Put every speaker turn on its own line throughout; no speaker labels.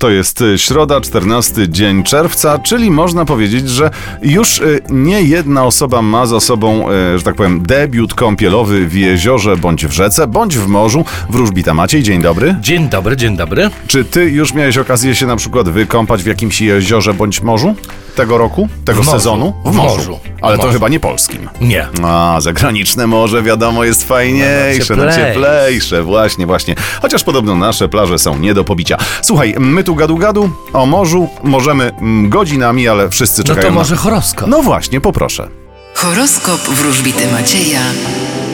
To jest y, środa, 14 dzień czerwca, czyli można powiedzieć, że już y, nie jedna osoba ma za sobą, y, że tak powiem, debiut kąpielowy w jeziorze, bądź w rzece, bądź w morzu. Wróżbita Maciej, dzień dobry.
Dzień dobry, dzień dobry.
Czy ty już miałeś okazję się na przykład wykąpać w jakimś jeziorze bądź morzu tego roku, tego
W morzu.
sezonu?
W morzu.
Ale
W
to
morzu.
chyba nie polskim.
Nie. No
A, zagraniczne morze, wiadomo, jest fajniejsze, no,
No,
cieplejsze.
cieplejsze.
właśnie, właśnie. Chociaż podobno nasze plaże są nie do pobicia. Słuchaj, my tu gadu-gadu o morzu możemy mm, godzinami, ale wszyscy
No
czekają
to
na-
może horoskop.
No właśnie, poproszę.
Horoskop wróżbity Macieja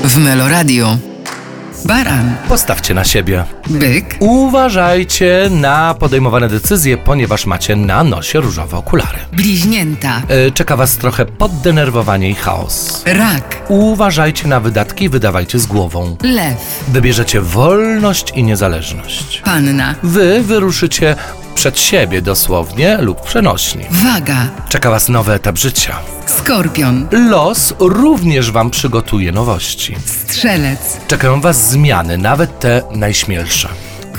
w Meloradio. Baran,
Postawcie na siebie.
byk,
Uważajcie na podejmowane decyzje, ponieważ macie na nosie różowe okulary.
bliźnięta,
E, Czeka Was trochę poddenerwowanie i chaos.
rak,
Uważajcie na wydatki i wydawajcie z głową.
lew,
Wybierzecie wolność i niezależność.
panna,
Wy wyruszycie przed siebie dosłownie lub przenośni.
waga,
Czeka Was nowy etap życia.
skorpion,
Los również Wam przygotuje nowości.
strzelec,
Czekają Was zmiany, nawet te najśmielsze.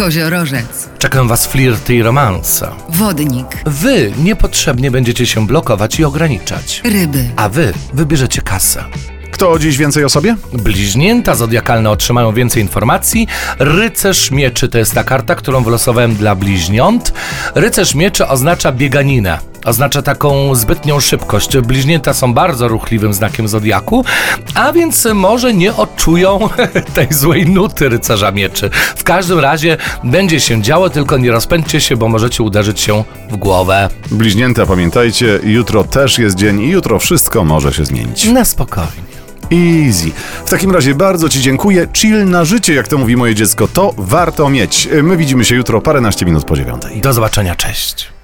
koziorożec,
Czekają Was flirty i romanse.
wodnik,
Wy niepotrzebnie będziecie się blokować i ograniczać.
ryby.
A Wy wybierzecie kasę.
Kto dziś więcej o sobie?
Bliźnięta zodiakalne otrzymają więcej informacji. Rycerz mieczy to jest ta karta, którą wylosowałem dla bliźniąt. Rycerz mieczy oznacza bieganinę. Oznacza taką zbytnią szybkość. Bliźnięta są bardzo ruchliwym znakiem zodiaku, a więc może nie odczują tej złej nuty rycerza mieczy. W każdym razie będzie się działo, tylko nie rozpędźcie się, bo możecie uderzyć się w głowę.
Bliźnięta, pamiętajcie, jutro też jest dzień i jutro wszystko może się zmienić.
Na spokojnie.
Easy. W takim razie bardzo Ci dziękuję. Chill na życie, jak to mówi moje dziecko, to warto mieć. My widzimy się jutro paręnaście minut po dziewiątej.
Do zobaczenia, cześć.